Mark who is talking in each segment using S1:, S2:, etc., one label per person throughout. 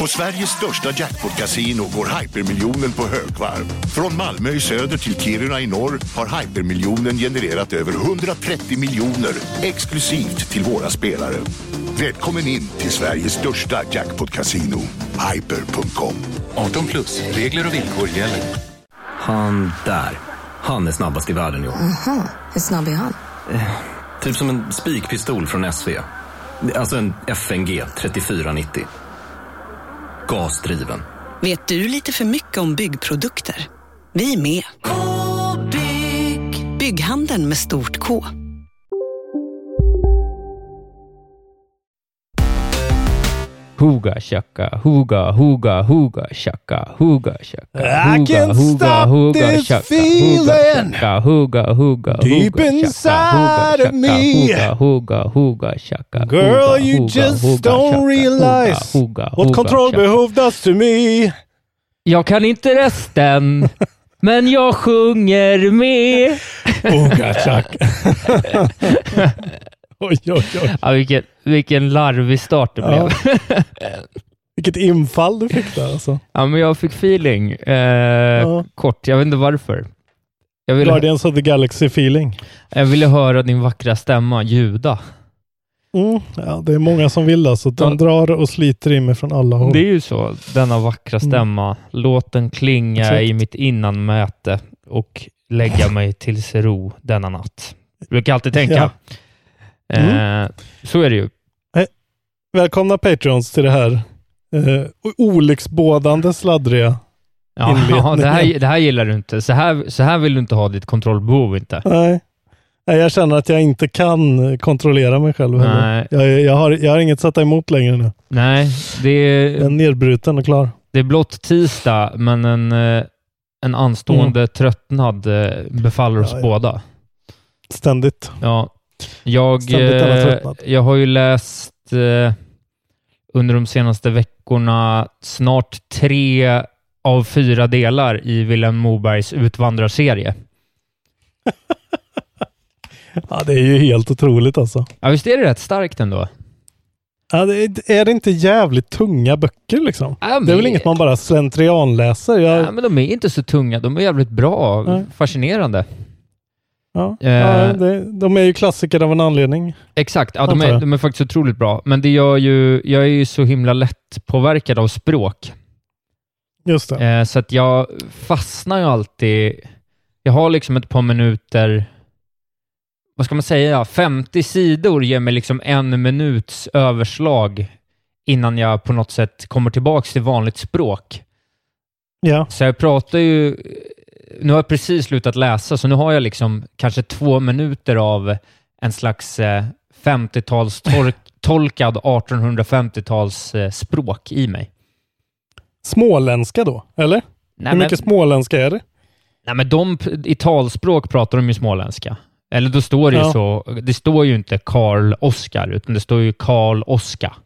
S1: På Sveriges största jackpot-kasino går hypermiljonen på högvarv. Från Malmö i söder till Kiruna i norr har hypermiljonen genererat över 130 miljoner exklusivt till våra spelare. Välkommen in till Sveriges största jackpot-kasino, hyper.com.
S2: 18 plus, regler och villkor gäller.
S3: Han där, han är snabbast i världen jo.
S4: Aha, hur snabb är han?
S3: Typ som en spikpistol från SV. Alltså en FNG 3490. Gasdriven.
S5: Vet du lite för mycket om byggprodukter? Vi är med. K-bygg. Bygghandeln med stort K.
S6: Huga shaka, huga, huga, huga shaka, huga shaka.
S7: I
S6: huga,
S7: can't stop this feeling.
S6: Huga shaka, huga, huga,
S7: Deep
S6: huga,
S7: inside
S6: shaka,
S7: of me.
S6: Huga, huga, huga shaka.
S7: Girl,
S6: huga,
S7: you
S6: huga,
S7: just
S6: huga,
S7: don't
S6: shaka,
S7: realize
S6: Huga, huga,
S7: What
S6: huga,
S7: control
S6: shaka.
S7: behov does to me.
S6: Jag kan inte resten, men jag sjunger med.
S7: Uga Chuck. oj, oj, oj.
S6: Ja, vilken, vilken larvig start det blev.
S7: Ja. Vilket infall du fick där alltså.
S6: Ja, men jag fick feeling eh, kort. Jag vet inte varför. Jag ville,
S7: Guardians of the Galaxy-feeling.
S6: jag ville höra din vackra stämma ljuda.
S7: Mm. Ja, det är många som vill det, så de
S6: Ja.
S7: drar och sliter i mig från alla håll.
S6: Det är ju så, denna vackra stämma. Låt den klinga
S7: Exakt.
S6: i mitt innanmäte och lägga mig till sin ro denna natt. Brukar jag alltid tänka.
S7: Mm.
S6: Eh, så är det ju.
S7: Välkomna Patreons till det här eh, o- olycksbådande sladdriga.
S6: Ja,
S7: Inledningen.
S6: det, här, det här gillar du inte. Så här, så här vill du inte ha ditt kontrollbehov inte.
S7: Nej. Nej, jag känner att jag inte kan kontrollera mig själv. heller.
S6: Nej.
S7: Jag, jag, har, jag har inget att sätta emot längre nu.
S6: Nej, det
S7: Jag är
S6: är,
S7: nedbruten och klar.
S6: det är blott tisdag, men en, eh, en anstående tröttnad eh, befaller oss
S7: Mm. Ja, ja.
S6: båda.
S7: Ständigt.
S6: Ja. Jag,
S7: Ständigt alla
S6: eh,
S7: tröttnat.
S6: jag har ju läst eh, under de senaste veckorna snart tre av fyra delar i Vilhelm Mobergs Utvandrarserie.
S7: Ja, det är ju helt otroligt alltså.
S6: Ja, visst är det rätt starkt ändå?
S7: Ja, det är, är det inte jävligt tunga böcker liksom?
S6: Ja, men-
S7: Det är väl inget man bara slentrianläser? Jag,
S6: Ja, men de är inte så tunga. De är jävligt bra.
S7: Nej.
S6: Fascinerande.
S7: ja.
S6: Eh.
S7: Ja, det, de är ju klassiker av en anledning.
S6: Exakt. Ja, de,
S7: Antar
S6: är,
S7: jag.
S6: de är faktiskt otroligt bra. Men det gör ju, jag är ju så himla lätt påverkad av språk.
S7: Just det.
S6: Eh, så att jag fastnar ju alltid. Jag har liksom ett par minuter, vad ska man säga, 50 sidor ger mig liksom en minuts överslag innan jag på något sätt kommer tillbaks till vanligt språk.
S7: Ja.
S6: Så jag pratar ju, nu har jag precis slutat läsa, så nu har jag liksom kanske två minuter av en slags eh, 50-tals tolkad 1850-tals eh, språk i mig.
S7: Småländska då, eller?
S6: Nej,
S7: Hur
S6: men-
S7: mycket småländska är det?
S6: Nej, men de, i talspråk pratar de ju småländska. Eller då står det ju
S7: Ja.
S6: så. Det står ju inte Karl Oskar, utan det står ju Karl Oska.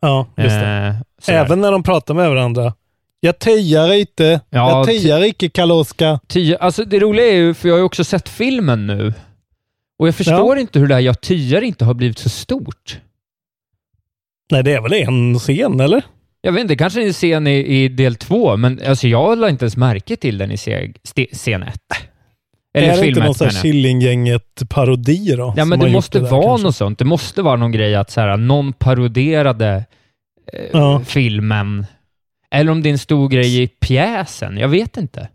S7: Ja, just det.
S6: Eh, sådär.
S7: Även när de pratar med varandra. Jag tejar inte.
S6: Ja,
S7: jag
S6: ty-
S7: tejar icke Kaloska.
S6: Ty, alltså det roliga är ju, för jag har ju också sett filmen nu, och jag förstår inte hur det här jag tyar inte har blivit så stort.
S7: Nej, det är väl en scen, eller?
S6: Jag vet inte, kanske ni ser den i, i del två, men alltså jag la inte ens märke till den i seg, ste, scen ett. Eller
S7: är det
S6: film
S7: inte
S6: ett,
S7: någon sån
S6: menar
S7: här
S6: jag.
S7: Killinggänget-parodi då?
S6: Ja,
S7: som
S6: men
S7: har
S6: det
S7: gjort
S6: måste
S7: där,
S6: vara
S7: kanske?
S6: något sånt. Det måste vara någon grej att så här, någon paroderade
S7: Ja.
S6: filmen. Eller om det är en stor grej i pjäsen. Jag vet inte.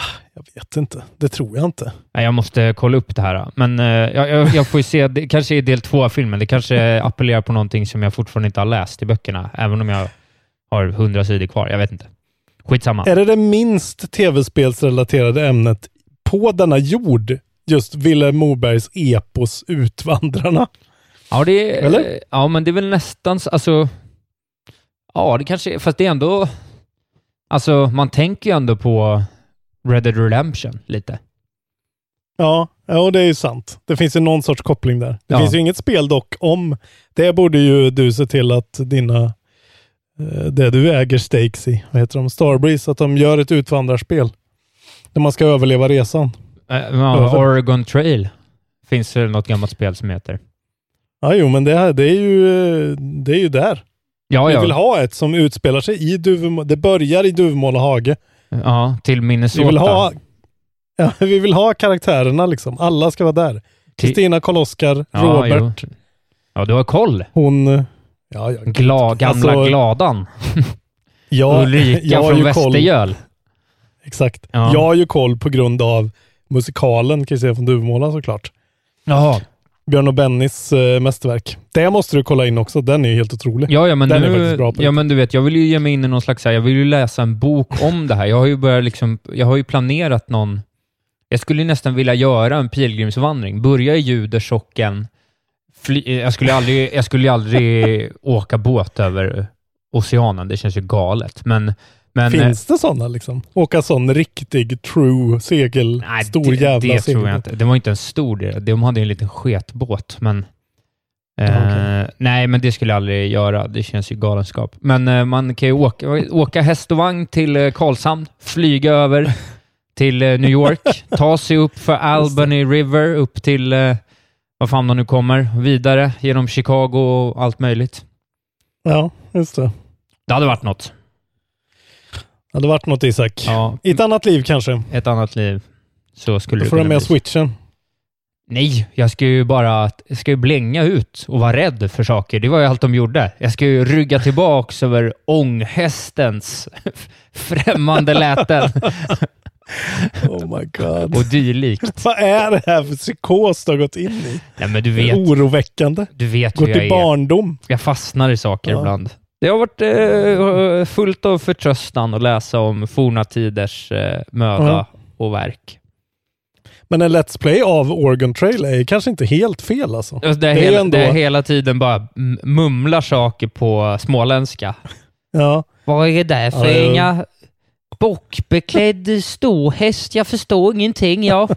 S7: Ah, Jag vet inte. Det tror jag inte.
S6: Nej, jag måste kolla upp det här. Men eh, jag, jag, jag får ju se. Det kanske är del två av filmen. Det kanske appellerar på någonting som jag fortfarande inte har läst i böckerna. Även om jag har hundra sidor kvar. Jag vet inte. Skitsamma.
S7: Är det det minst tv-spelsrelaterade ämnet på denna jord? Just Vilhelm Mobergs epos Utvandrarna. Ja, det är,
S6: Eller?
S7: Ja, men det är väl nästan... så- Alltså, ja, det kanske är... Fast det är ändå... Alltså, man tänker ju ändå på Red Dead Redemption lite.
S6: Ja, ja, och det är ju sant. Det finns ju någon sorts koppling där. Det
S7: Ja.
S6: finns ju inget spel dock om. Det borde ju du se till att dina, eh, det du äger stakes i, vad heter de, Starbreeze, att de gör ett utvandrarspel. Där man ska överleva resan.
S7: Eh,
S6: Varför?
S7: ja, Oregon Trail finns det något gammalt spel som heter.
S6: Ja, jo, men det, här, det, är, ju, eh, det är ju där.
S7: Ja,
S6: Vi
S7: ja.
S6: vill ha ett som utspelar sig i Duvemåla. Det börjar i Duvemåla hage.
S7: ja till Minnesota.
S6: Vi vill ha, ja, vi vill ha karaktärerna liksom. Alla ska vara där.
S7: Till-
S6: Kristina Karl-Oskar,
S7: Ja,
S6: Robert,
S7: jo. Ja, du har koll.
S6: hon... eh, Ja, jag,
S7: Gla, gamla
S6: Alltså,
S7: gladan.
S6: ja,
S7: Ulrika
S6: jag har
S7: från
S6: ju koll.
S7: Västergöl.
S6: Exakt.
S7: Ja.
S6: Jag har ju koll på grund av musikalen Kristina från Duvemåla såklart.
S7: Jaha.
S6: Björn och Bennys eh, mästerverk. Det måste du kolla in också. Den är ju helt otrolig.
S7: Ja, ja, men
S6: Den är faktiskt
S7: nu,
S6: bra på
S7: ja,
S6: det.
S7: men du vet, jag vill ju ge mig in i någon slags, så här, jag vill ju läsa en bok om det här. Jag har ju börjat liksom, jag har ju planerat någon, jag skulle ju nästan vilja göra en pilgrimsvandring. Börja i Judersocken, fly, eh, jag skulle ju aldrig, jag skulle ju aldrig åka båt över oceanen, det känns ju galet. Men, men eh,
S6: Finns det sådana liksom? Åka sån riktig true segel,
S7: nej,
S6: stor
S7: det,
S6: jävla
S7: det
S6: segel.
S7: tror jag inte. Det var inte en stor del, de hade ju en liten sketbåt, men Eh,
S6: Okej.
S7: Nej, men det skulle jag aldrig göra. Det känns ju galenskap. Men eh, man kan ju åka, åka häst och vagn till eh, Karlshamn, flyga över till eh, New York, ta sig upp för Albany River, upp till eh, vad fan de nu kommer, vidare genom Chicago och allt möjligt.
S6: Ja, just det.
S7: Det hade varit något.
S6: Det hade varit något Isak.
S7: Ja,
S6: I ett annat liv kanske.
S7: ett annat liv så skulle
S6: Då
S7: det
S6: får du
S7: kunna
S6: med
S7: bli.
S6: switchen.
S7: Nej, jag ska ju bara jag ska ju blänga ut och vara rädd för saker. Det var ju allt de gjorde. Jag ska ju rygga tillbaks över ånghästens främmande läten
S6: Oh my god.
S7: och dylikt.
S6: Vad är det här för psykos du har gått in i?
S7: Nej, men du
S6: Det är
S7: vet,
S6: Oroväckande.
S7: du vet
S6: Går
S7: hur jag
S6: till
S7: är.
S6: barndom.
S7: Jag fastnar i saker
S6: Ja.
S7: ibland. Det har varit eh, fullt av förtröstan att läsa om forna tiders eh, möda
S6: Ja.
S7: och verk.
S6: Men en Let's Play av Oregon Trail är kanske inte helt fel alltså.
S7: Det är,
S6: ju
S7: hela,
S6: ändå-
S7: det är hela tiden bara m- mumlar saker på småländska.
S6: Ja.
S7: Vad är det där för
S6: Ja, det är-
S7: inga bockbeklädd storhäst? Jag förstår ingenting, jag.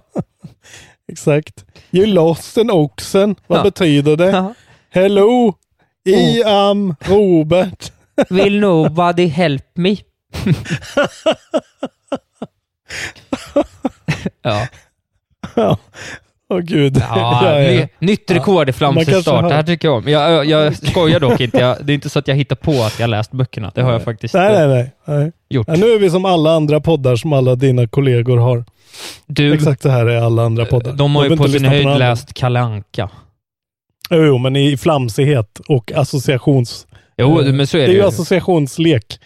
S6: Exakt. You lost an oxen. Vad
S7: Ja. Oh.
S6: betyder det? Hello! I am Robert.
S7: Will nobody help me? ja,
S6: Ja. Åh gud.
S7: ja,
S6: Ja, ja.
S7: Ny, nytt rekord i
S6: Man kanske
S7: flamsestart.
S6: har-
S7: Det här tycker jag om. Jag, jag, jag skojar dock inte. Jag, det är inte så att jag hittar på att jag läst böckerna. Det har jag faktiskt
S6: Nej,
S7: eh,
S6: nej, nej. nej.
S7: gjort.
S6: Ja, nu är vi som alla andra poddar som alla dina kollegor har.
S7: Du,
S6: Exakt så här är alla andra poddar.
S7: de har
S6: behöver
S7: ju på
S6: inte
S7: sin
S6: lyssna någon
S7: höjd
S6: annan.
S7: läst Kalanka.
S6: Jo, jo, men i flamsighet och associations...
S7: Jo,
S6: eh,
S7: men så är
S6: det
S7: det
S6: är ju
S7: ju.
S6: associationslek.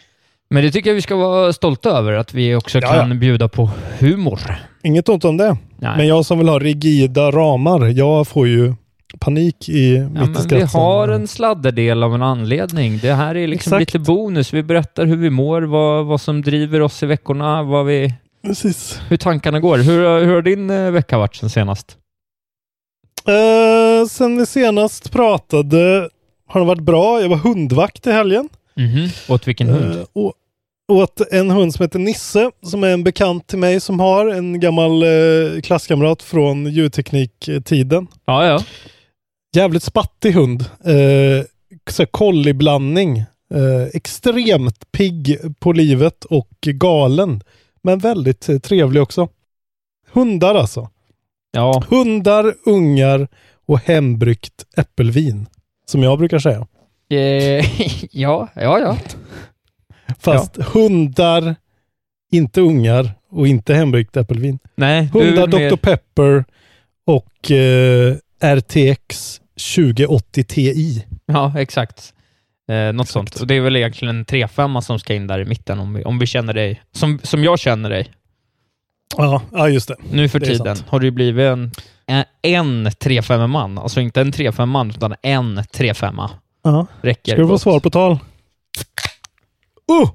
S7: Men det tycker jag vi ska vara stolta över, att vi också
S6: Ja, ja.
S7: kan bjuda på humor.
S6: Inget ont om det.
S7: Nej.
S6: Men jag som vill ha rigida ramar, jag får ju panik i
S7: Ja,
S6: mitt
S7: men
S6: skratt.
S7: vi har en sladderdel av en anledning. Det här är liksom
S6: Exakt.
S7: lite bonus. Vi berättar hur vi mår, vad, vad som driver oss i veckorna, vad vi,
S6: Precis.
S7: hur tankarna går. Hur, har- hur har din eh, vecka varit sen senast?
S6: Eh, sen vi senast pratade har det varit bra. Jag var hundvakt i helgen.
S7: Åt vilken hund?
S6: Eh, och, åt en hund som heter Nisse, som är en bekant till mig som har en gammal eh, klasskamrat från ljudtekniktiden.
S7: Ja, ja.
S6: Jävligt spattig hund. Eh, så här Colliblandning. Eh, extremt pigg på livet och galen. Men väldigt eh, trevlig också. Hundar alltså.
S7: Ja,
S6: Hundar, ungar och hembryggt äppelvin. Som jag brukar säga.
S7: Eh, ja, ja. ja.
S6: Fast hundar, inte ungar och inte hembryggt äppelvin.
S7: Nej, du är
S6: Hundar,
S7: mer-
S6: Dr. Pepper och eh, RTX 2080 Ti.
S7: Ja, exakt. Eh, något
S6: Exakt.
S7: sånt. Och det är väl egentligen en 3-5 som ska in där i mitten om vi, om vi känner dig, som, som jag känner dig.
S6: Ja, ja, just det.
S7: Nu för
S6: Det är
S7: tiden
S6: sant.
S7: har det ju blivit en, en- en 3-5 man. Alltså inte en 3-5 man, utan en 3-5.
S6: Ja.
S7: Räcker.
S6: Ska du få
S7: gott.
S6: svar på tal? Oh!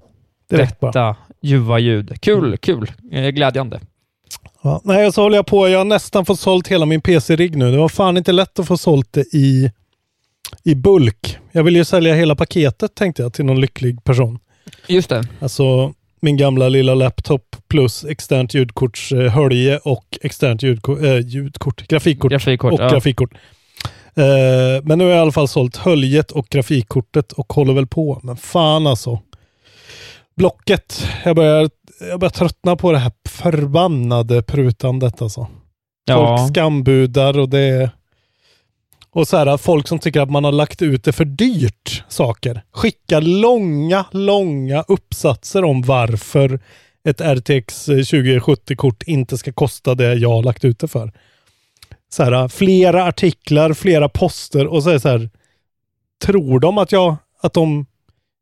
S6: Direkt bara.
S7: Detta ljuva ljud. Kul, kul. Eh, Glädjande.
S6: Ja. Nej, och så håller jag på. Jag har nästan fått sålt hela min PC-rigg nu. Det var fan inte lätt att få sålt det i i bulk. Jag ville ju sälja hela paketet tänkte jag till någon lycklig person.
S7: Just det.
S6: Alltså min gamla lilla laptop plus externt ljudkorts eh, hölje och externt ljudkort, eh, ljudkort grafikkort
S7: Grafikkort.
S6: och
S7: ja.
S6: grafikkort. Eh, men nu har jag i alla fall sålt höljet och grafikkortet och håller väl på. Men fan alltså. Blocket. Jag börjar, jag börjar tröttna på det här förbannade prutandet alltså. Folk
S7: ja.
S6: skambudar och det är... Och så här, folk som tycker att man har lagt ut det för dyrt saker. Skicka långa, långa uppsatser om varför ett RTX 2070-kort inte ska kosta det jag har lagt ut det för. Så här, flera artiklar, flera poster och så är det så här. Tror de att, jag, att de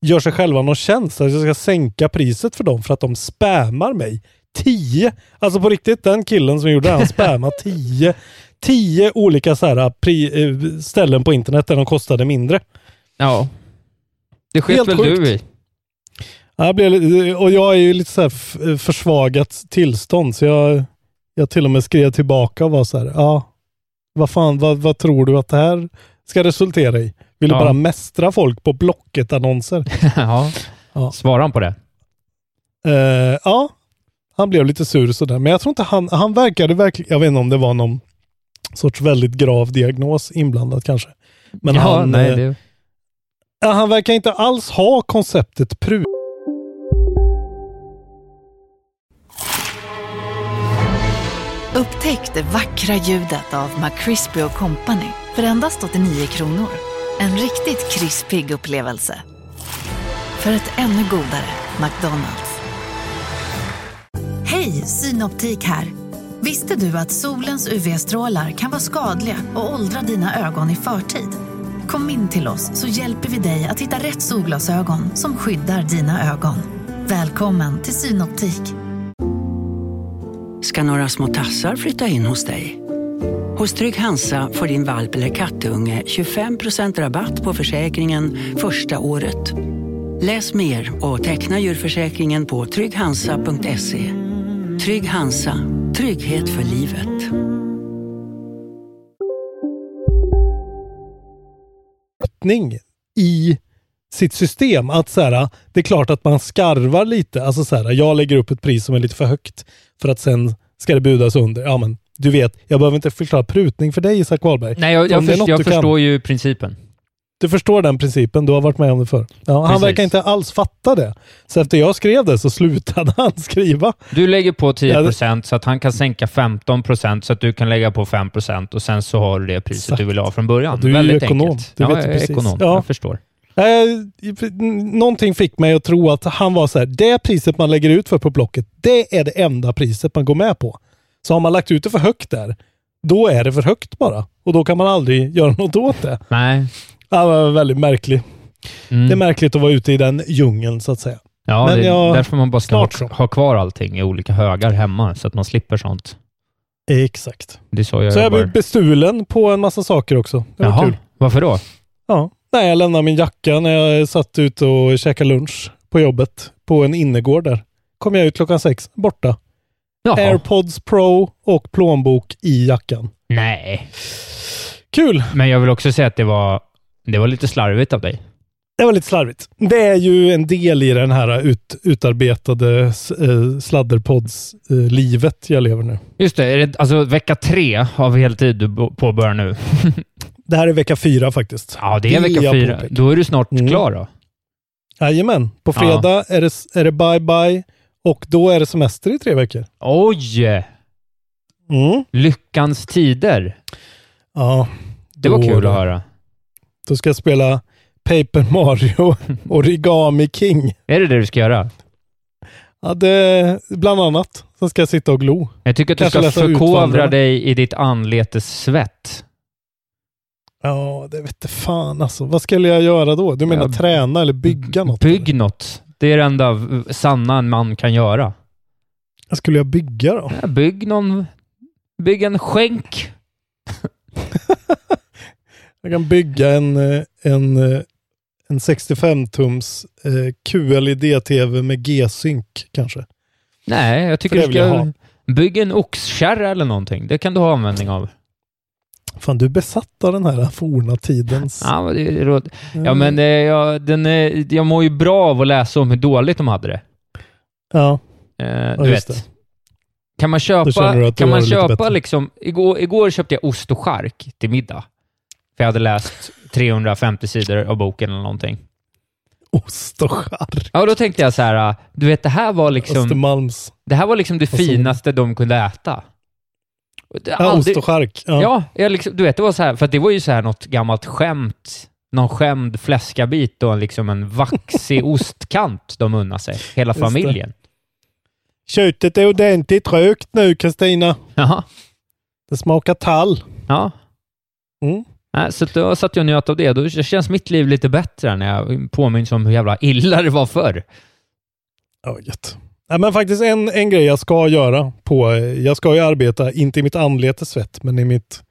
S6: gör sig själva någon tjänst? Att jag ska sänka priset för dem för att de spammar mig? 10. Alltså på riktigt, den killen som gjorde det, han spammade 10. 10 olika så här pri, eh, ställen på internet där de kostade mindre.
S7: ja. Det sket
S6: Helt
S7: väl
S6: sjukt.
S7: du i?
S6: Ja, Jag blev, li- eh, och jag är ju lite så här f- eh, försvagat tillstånd så jag, jag till och med skrev tillbaka och var så här, ja, vad fan, vad, vad tror du att det här ska resultera i? Vill du
S7: Ja.
S6: bara mästra folk på Blocket-annonser?
S7: ja.
S6: Ja.
S7: Svarar han på det?
S6: Eh, ja, han blev lite sur sådär. Men jag tror inte han, han verkade verkligen, jag vet inte om det var någon sorts väldigt grav diagnos inblandad kanske. Men
S7: ja,
S6: han,
S7: nej,
S6: eh,
S7: det...
S6: ja, han verkar inte alls ha konceptet prut.
S4: Upptäck det vackra ljudet av McCrispy Company för endast 89 kronor. En riktigt krispig upplevelse. För ett ännu godare McDonalds. Hej, Synoptik här. Visste du att solens UV-strålar kan vara skadliga och åldra dina ögon i förtid? Kom in till oss så hjälper vi dig att hitta rätt solglasögon som skyddar dina ögon. Välkommen till Synoptik.
S8: ska några små tassar flytta in hos dig. Hos Trygg Hansa får din valp eller kattunge 25% rabatt på försäkringen första året. Läs mer och teckna djurförsäkringen på trygghansa.se. Trygg Hansa, trygghet för livet.
S6: öppning i sitt system. Att så här, det är klart att man skarvar lite. Alltså så här, jag lägger upp ett pris som är lite för högt för att sen ska det budas under. Ja, men du vet, jag behöver inte förklara prutning för dig Isak Wahlberg.
S7: nej jag,
S6: Om
S7: jag,
S6: det är något
S7: först, jag
S6: du kan.
S7: förstår ju principen.
S6: Du förstår den principen, du har varit med om det förr. Ja, han
S7: Precis.
S6: verkar inte alls fatta det. Så efter jag skrev det så slutade han skriva.
S7: Du lägger på 10
S6: Ja,
S7: procent så att han kan sänka 15 procent så att du kan lägga på 5 procent och sen så har du det priset du
S6: Exakt.
S7: vill ha från början.
S6: Ja, du är ju
S7: Väldigt
S6: ekonom.
S7: enkelt.
S6: Du
S7: ja,
S6: vet
S7: jag
S6: ju
S7: är
S6: precis.
S7: ekonom.
S6: Ja.
S7: Jag förstår.
S6: Eh, Någonting fick mig att tro att han var så här, det priset man lägger ut för på Blocket, det är det enda priset man går med på. Så har man lagt ut det för högt där, då är det för högt bara. Och då kan man aldrig göra något åt det.
S7: Nej.
S6: Ja, det var väldigt märkligt.
S7: Mm.
S6: Det är märkligt att vara ute i den djungeln så att säga.
S7: ja,
S6: men
S7: det,
S6: jag-
S7: därför man bara ska
S6: snart
S7: ha, ha kvar allting i olika högar hemma så att man slipper sånt.
S6: Exakt.
S7: Det är så jag
S6: Så jag
S7: jobbar.
S6: blev bestulen på en massa saker också. Det var
S7: Jaha,
S6: kul.
S7: varför då?
S6: Ja. Nej, jag lämnade min jacka när jag satt ute och käkade lunch på jobbet på en innergård där. Kom jag ut klockan sex, borta.
S7: Jaha.
S6: AirPods Pro och plånbok i jackan.
S7: Nej,
S6: Kul!
S7: men jag vill också säga att det var, det var lite slarvigt av dig.
S6: Det var lite slarvigt. Det är ju en del i den här ut, utarbetade s- eh, sladderpods-livet jag lever nu.
S7: Just det, är det alltså vecka tre av heltid du bo- påbörjar nu.
S6: Det här är vecka fyra faktiskt.
S7: Ja, det är
S6: Vill
S7: vecka
S6: jag
S7: fyra.
S6: påpeka.
S7: Då är du snart
S6: Mm.
S7: klar då.
S6: Jajamän. På fredag är, det, s- är det bye-bye och då är det semester i tre veckor.
S7: Oj!
S6: Mm.
S7: Lyckans tider.
S6: Ja.
S7: Det var
S6: Då
S7: kul
S6: då.
S7: att höra.
S6: Då ska jag spela Paper Mario Origami King.
S7: Är det det du ska göra?
S6: Ja, det, bland annat. Sen ska jag sitta och glo.
S7: Jag tycker att du
S6: Kanske
S7: ska
S6: läsa Utvandrarna.
S7: förkovra dig i ditt anletes svett.
S6: Ja, det vet fan alltså. Vad skulle jag göra då? Du menar
S7: Ja,
S6: träna eller bygga något?
S7: Bygg något. Det är det enda v- sanna en man kan göra.
S6: Vad skulle jag bygga då?
S7: Ja, Bygg någon... Bygg en skänk.
S6: Jag kan bygga en, eh, en, eh, en 65-tums eh, QLED-TV med G-Sync kanske.
S7: Nej, jag tycker
S6: För
S7: du
S6: det vill
S7: ska...
S6: jag ha.
S7: Bygg en oxkärra eller någonting. Det kan du ha användning av.
S6: Fan, du är besatt av den här forna tidens...
S7: Ja, men, det, det,
S6: Mm.
S7: ja, men eh, jag, den, eh, jag mår ju bra av att läsa om hur dåligt de hade det.
S6: Ja.
S7: Eh,
S6: Ja,
S7: du
S6: just
S7: vet.
S6: det.
S7: Kan man
S6: Då känner du
S7: köpa,
S6: att du
S7: kan
S6: har
S7: man
S6: det lite
S7: köpa
S6: bättre.
S7: liksom, igår, igår köpte jag ost och chark till middag. För jag hade läst 350 sidor av boken eller någonting.
S6: Ost och chark.
S7: Ja, och då tänkte jag så här, "Ah, du vet det här var liksom,
S6: Östermalms.
S7: det, här var liksom det
S6: Och så-
S7: finaste de kunde äta. Och det-
S6: Ja, ost och chark. Ja.
S7: Ja, jag liksom, du vet, det var så här, för att det var ju så här något gammalt skämt, någon skämd fläskabit och en liksom en vaxig ostkant de unnar sig, hela
S6: Just det.
S7: familjen.
S6: Köttet är ordentligt rökt nu, Kristina.
S7: Jaha.
S6: Det smakar tall.
S7: Ja.
S6: Mm.
S7: Nej, så då satt jag och njöt av det. Då känns mitt liv lite bättre när jag påminns om hur jävla illa det var förr.
S6: Ja, gött. Ja, men faktiskt en, en grej jag ska göra på, eh, jag ska ju arbeta, inte i mitt anletes svett, men i mitt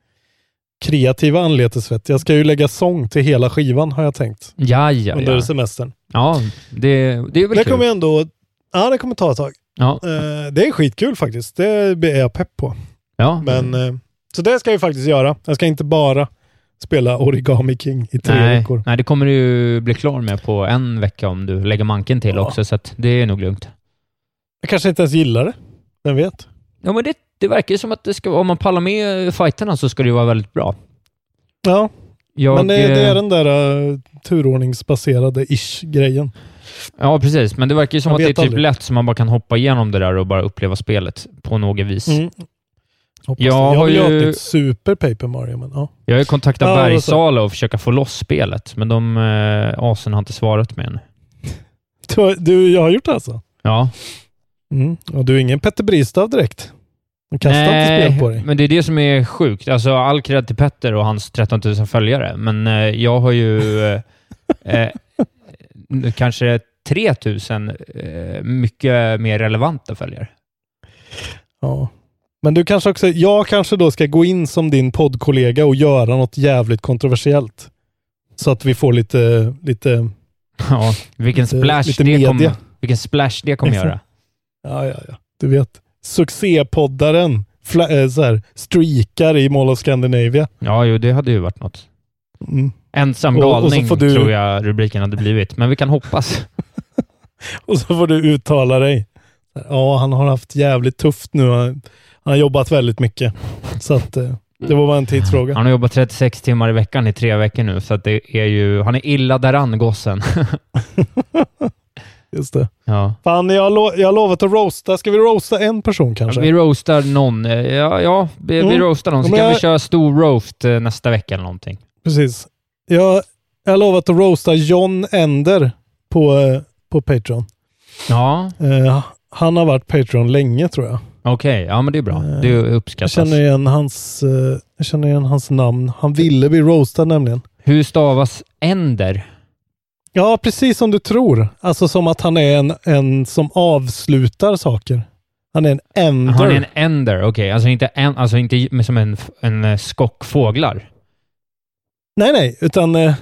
S6: kreativa anletes svett. Jag ska ju lägga sång till hela skivan har jag tänkt
S7: Ja, ja,
S6: under
S7: ja.
S6: semestern.
S7: ja det, det är väl
S6: Det
S7: kul.
S6: kommer jag ändå, ja det kommer ta ett tag.
S7: Ja.
S6: Eh, det är skitkul faktiskt, det är jag pepp på.
S7: Ja.
S6: Men, eh, så det ska jag ju faktiskt göra. Jag ska inte bara spela Origami King i tre
S7: Nej,
S6: veckor.
S7: nej, det kommer du ju bli klar med på en vecka om du lägger manken till också, så att det är nog lugnt.
S6: Jag kanske inte ens gillar det, vem vet?
S7: Ja, men det, det verkar ju som att det ska, om man pallar med fighterna så ska det ju vara väldigt bra.
S6: Ja,
S7: Jag,
S6: men det, det är
S7: eh,
S6: den där eh, turordningsbaserade ish-grejen.
S7: Ja, precis. Men det verkar ju som
S6: Man
S7: att det är
S6: vet
S7: typ
S6: aldrig.
S7: lätt så man bara kan hoppa igenom det där och bara uppleva spelet på något vis.
S6: Mm. Hoppas
S7: Jag
S6: jag det.
S7: har
S6: jag vill
S7: ju-
S6: ju ha ett super Paper Mario, men ja.
S7: Jag har ju kontaktat
S6: Ja, det var så.
S7: Bergsala och försöka få loss spelet, men de eh, asen har inte svarat mig än.
S6: Du, har- du, jag har gjort det alltså?
S7: Ja.
S6: Mm. Och du är ingen Petter Bristav direkt? De kastar
S7: Nej,
S6: inte spel på dig.
S7: men det är det som är sjukt. Alltså, all cred till Petter och hans 13 000 följare, men eh, jag har ju eh, eh, nu kanske 3 000 eh, mycket mer relevanta följare.
S6: Ja. Men du kanske också, jag kanske då ska gå in som din poddkollega och göra något jävligt kontroversiellt. Så att vi får lite, lite,
S7: Ja, vilken
S6: Lite-
S7: splash
S6: lite
S7: det kommer
S6: media.
S7: vilken splash det kommer
S6: Exakt.
S7: göra.
S6: ja ja ja, du vet, succépoddaren, fla, eh, så här, streakar i Mall of Scandinavia.
S7: Ja, jo, det hade ju varit något.
S6: Mm.
S7: Ensam
S6: Och- och så
S7: galning
S6: får du-
S7: tror jag rubriken hade blivit, men vi kan hoppas.
S6: Och så får du uttala dig. Ja, han har haft jävligt tufft nu. Han han har jobbat väldigt mycket. Så att eh, det var bara en tidsfråga.
S7: Han har jobbat 36 timmar i veckan i tre veckor nu, så att det är ju... Han är illa däran, gossen.
S6: Just det.
S7: ja.
S6: Fan, jag har, lo- jag har lovat att roasta. Ska vi roasta en person kanske?
S7: Vi roastar någon. eh, Ja, ja vi, vi
S6: Mm.
S7: roastar någon, så
S6: Ja, men
S7: kan vi
S6: jag-
S7: köra stor roast eh, nästa vecka eller någonting.
S6: Precis. Jag, jag har lovat att roasta John Ender på, eh, på Patreon.
S7: Ja,
S6: Eh, han har varit Patreon länge tror jag.
S7: okej. Ja, men det är bra.
S6: Eh,
S7: Det
S6: Jag
S7: uppskattas.
S6: känner igen hans, eh, jag känner igen hans namn. Han ville bli roastad nämligen.
S7: Hur stavas änder?
S6: Ja, precis som du tror. Alltså som att han är en, en som avslutar saker. Han är en ender.
S7: Han är en änder, okej. Alltså inte, en, alltså inte men som en, en eh, skock fåglar.
S6: Nej, nej, utan eh,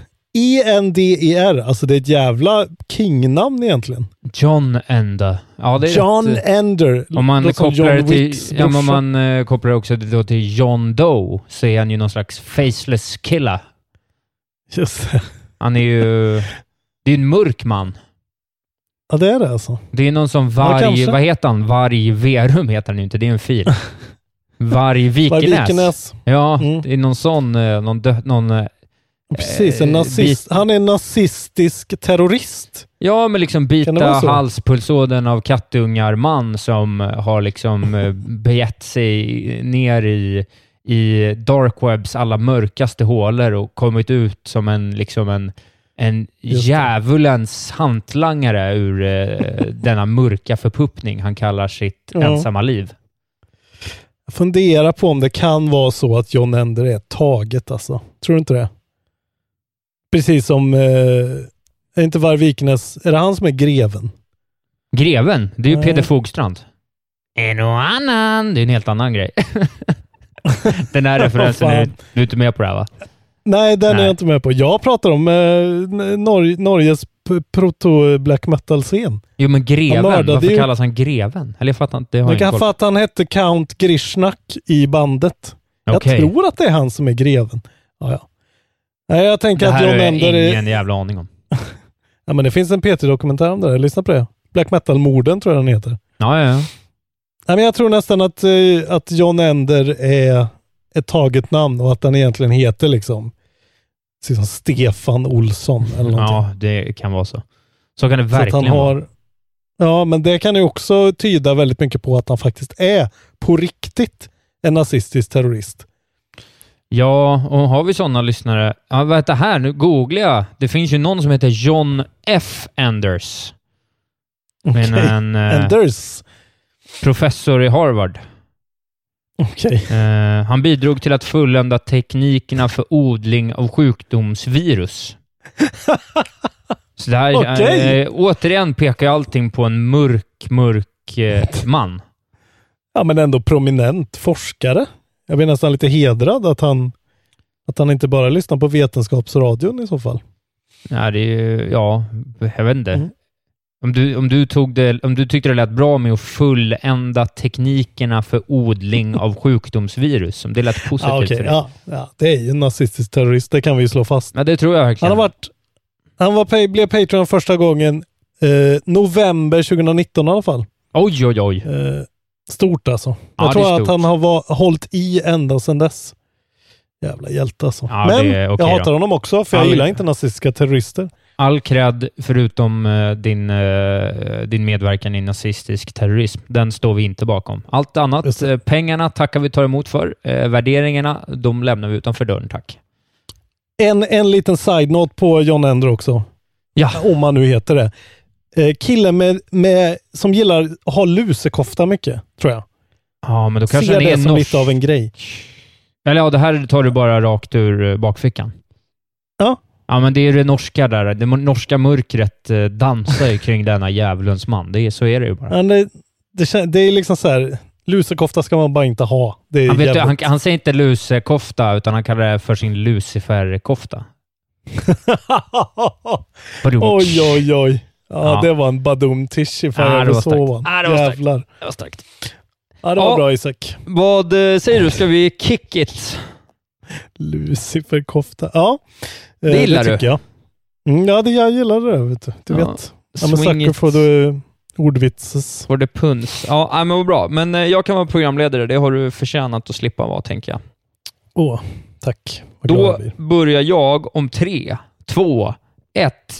S6: E-N-D-E-R. Alltså det är ett jävla kingnamn egentligen.
S7: John Ender. Ja, det är
S6: John
S7: rätt, eh,
S6: Ender.
S7: Om man,
S6: Låter som
S7: kopplar det
S6: John
S7: till,
S6: Wicks
S7: ja, men om
S6: brorsa.
S7: man eh, kopplar också det då till John Doe så är han ju någon slags faceless killa.
S6: Just det.
S7: Han är ju... Det är en mörk man.
S6: Ja, det är det alltså.
S7: Det är någon som varg...
S6: kanske.
S7: vad heter han? Varg Verum heter han ju inte. Det är en fil. Varg Vikenäs.
S6: Vikenäs.
S7: Ja,
S6: Mm.
S7: det är någon sån... eh, Någon, dö, någon eh,
S6: Precis, en
S7: Eh,
S6: nazist.
S7: bit-
S6: Han är en nazistisk terrorist.
S7: Ja, men liksom
S6: Kan
S7: bita
S6: det vara så?
S7: halspulsådern av kattungar man som eh, har liksom eh, begett sig ner i, i darkwebs alla mörkaste hålor och kommit ut som en, liksom en, en
S6: Just det.
S7: djävulens hantlangare ur eh, denna mörka förpuppning han kallar sitt
S6: Ja.
S7: ensamma liv.
S6: Jag funderar på om det kan vara så att John Ender är taget alltså. Tror du inte det? Precis som, eh, är inte Varg Vikenäs, är det han som är greven?
S7: Greven, det är ju
S6: Nej.
S7: Peder Fogstrand. En och annan. Det är en helt annan grej. Den här referensen, är,
S6: fan.
S7: du är inte med på det här va?
S6: Nej, den är
S7: Nej.
S6: jag inte med på. Jag pratar om eh, Nor- Norges p- proto-black metal-scen.
S7: Jo, men greven.
S6: Han mördade
S7: Varför
S6: ju-
S7: kallas han greven? Eller jag fattar inte. Det har jag
S6: Jag
S7: ingen koll
S6: kan fatta
S7: på.
S6: att han hette Count Grishnak i bandet.
S7: Okej.
S6: Jag tror att det är han som är greven. Ja, ja. Nej, jag tänker
S7: Det
S6: att
S7: här
S6: John
S7: har jag
S6: Ender är...
S7: ingen jävla aning om.
S6: Ja, men det finns en P3-dokumentär om det där. Lyssna på det. Black Metal-morden tror jag den heter.
S7: Ja, ja, ja.
S6: Nej, men jag tror nästan att, eh, att John Ender är ett taget namn och att han egentligen heter liksom, liksom Stefan Olsson eller någonting.
S7: Ja, det kan vara så. Så kan det
S6: Så att han
S7: verkligen vara.
S6: har, ja, men det kan ju också tyda väldigt mycket på att han faktiskt är på riktigt en nazistisk terrorist.
S7: Ja, och har vi sådana lyssnare? Ja, vänta här, nu googlar jag. Det finns ju någon som heter John F. Anders. Men
S6: Okej.
S7: en, eh,
S6: Anders.
S7: Professor i Harvard.
S6: Okej.
S7: Eh, han bidrog till att fullända teknikerna för odling av sjukdomsvirus. Så det här,
S6: Okej.
S7: eh, återigen pekar ju allting på en mörk, mörk eh, man.
S6: Ja, men ändå prominent forskare. Jag blir nästan lite hedrad att han, att han inte bara lyssnar på Vetenskapsradion i så fall.
S7: Ja, det är ju, ja, jag vet inte.
S6: Mm.
S7: Om, du, om, du tog det, om du tyckte det lät bra med att fullända teknikerna för odling av sjukdomsvirus, om det lät positivt
S6: Ja, okej.
S7: för dig.
S6: ja, ja, det är ju en nazistisk terrorist, det kan vi ju slå fast.
S7: Ja, det tror jag verkligen.
S6: Han, har varit, han var, pay- blev Patreon första gången eh, november 2019 i alla fall.
S7: Oj, oj, oj.
S6: Eh, stort alltså.
S7: Ja,
S6: jag
S7: det är
S6: tror att
S7: stort.
S6: han har var, hållit i ända sedan dess. Jävla hjälte alltså.
S7: Ja,
S6: Men
S7: det är okej
S6: jag hatar
S7: då.
S6: honom också, för jag
S7: All-
S6: gillar inte nazistiska terrorister.
S7: All cred förutom eh, din, eh, din medverkan i nazistisk terrorism, den står vi inte bakom. Allt annat, eh, pengarna tackar vi tar emot för. Eh, värderingarna, de lämnar vi utanför dörren, tack.
S6: En, en liten side-note på John Ender också.
S7: Ja.
S6: Om han nu heter det. Eh, killen med, med, som gillar att ha lusekofta mycket, tror jag.
S7: Ja, men då kanske
S6: Ser
S7: den är
S6: det som
S7: norsk.
S6: lite av en grej.
S7: Eller ja, det här tar du bara rakt ur eh, bakfickan.
S6: Ja.
S7: Ja, men det är det norska där. Det norska mörkret eh, dansar ju kring denna djävulens man. Det är, så är det ju bara.
S6: Men det, det, kän- det är liksom så här, lusekofta ska man bara inte ha. Det är
S7: Han, vet, du,
S6: jävligt-
S7: han, han säger inte lusekofta, utan han kallar det för sin luciferkofta. Badum.
S6: Oj, oj, oj. Ja,
S7: Ja.
S6: det var en badum-tisch ifall
S7: Ja, det
S6: jag
S7: var
S6: var så.
S7: starkt. Ja, det var starkt.
S6: Jävlar.
S7: Det var starkt.
S6: Ja, det var
S7: Ja.
S6: bra Isak.
S7: Vad eh, säger du? Ska vi kick it?
S6: Luciferkofta. Ja, eh,
S7: Det gillar du.
S6: tycker jag. Mm, ja, det, jag gillar det. Vet du du
S7: Ja.
S6: vet. Ja, men
S7: Swing
S6: sucker
S7: it.
S6: for the ordvitses.
S7: Får det puns? Ja, nej, men vad bra. Men eh, jag kan vara programledare. Det har du förtjänat att slippa vara, tänker jag.
S6: Åh, tack. Vad glad
S7: Då
S6: jag blir.
S7: börjar jag om tre, två, ett.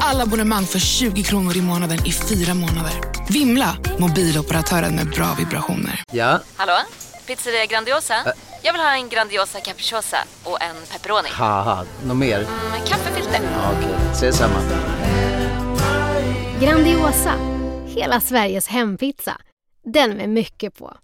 S9: Alla abonnemang för 20 kronor i månaden i fyra månader. Vimla! Mobiloperatören med bra vibrationer.
S10: Ja,
S11: Hallå? Pizzeria Grandiosa? Jag vill ha en Grandiosa capriciosa och en pepperoni.
S10: haha, något mer?
S11: Med kaffefilter.
S10: Ja, Okej, ses samma.
S12: Grandiosa, hela Sveriges hempizza. Den med mycket på.